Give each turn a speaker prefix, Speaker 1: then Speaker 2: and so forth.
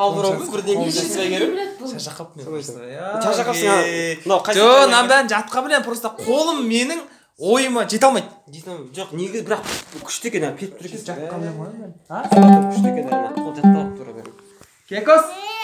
Speaker 1: түкірден кейін жетіспей келіп
Speaker 2: шаршап қалыппын мен просто.
Speaker 1: шаршап қалыпсың, а,
Speaker 2: Е,
Speaker 1: мынау қай
Speaker 2: жоқ,
Speaker 1: сатыдан
Speaker 2: мынаның
Speaker 1: бері-
Speaker 2: бәрін жатқа білемін просто қолым менің ойыма жете алмайды
Speaker 1: Дейтін, жоқ негізі бірақ күшті екен а, кетіп тұр Ә? екен
Speaker 2: жатқа білемін ғой мен. А?
Speaker 1: күшті екен а, қол жатталып тұр екен.
Speaker 2: кекос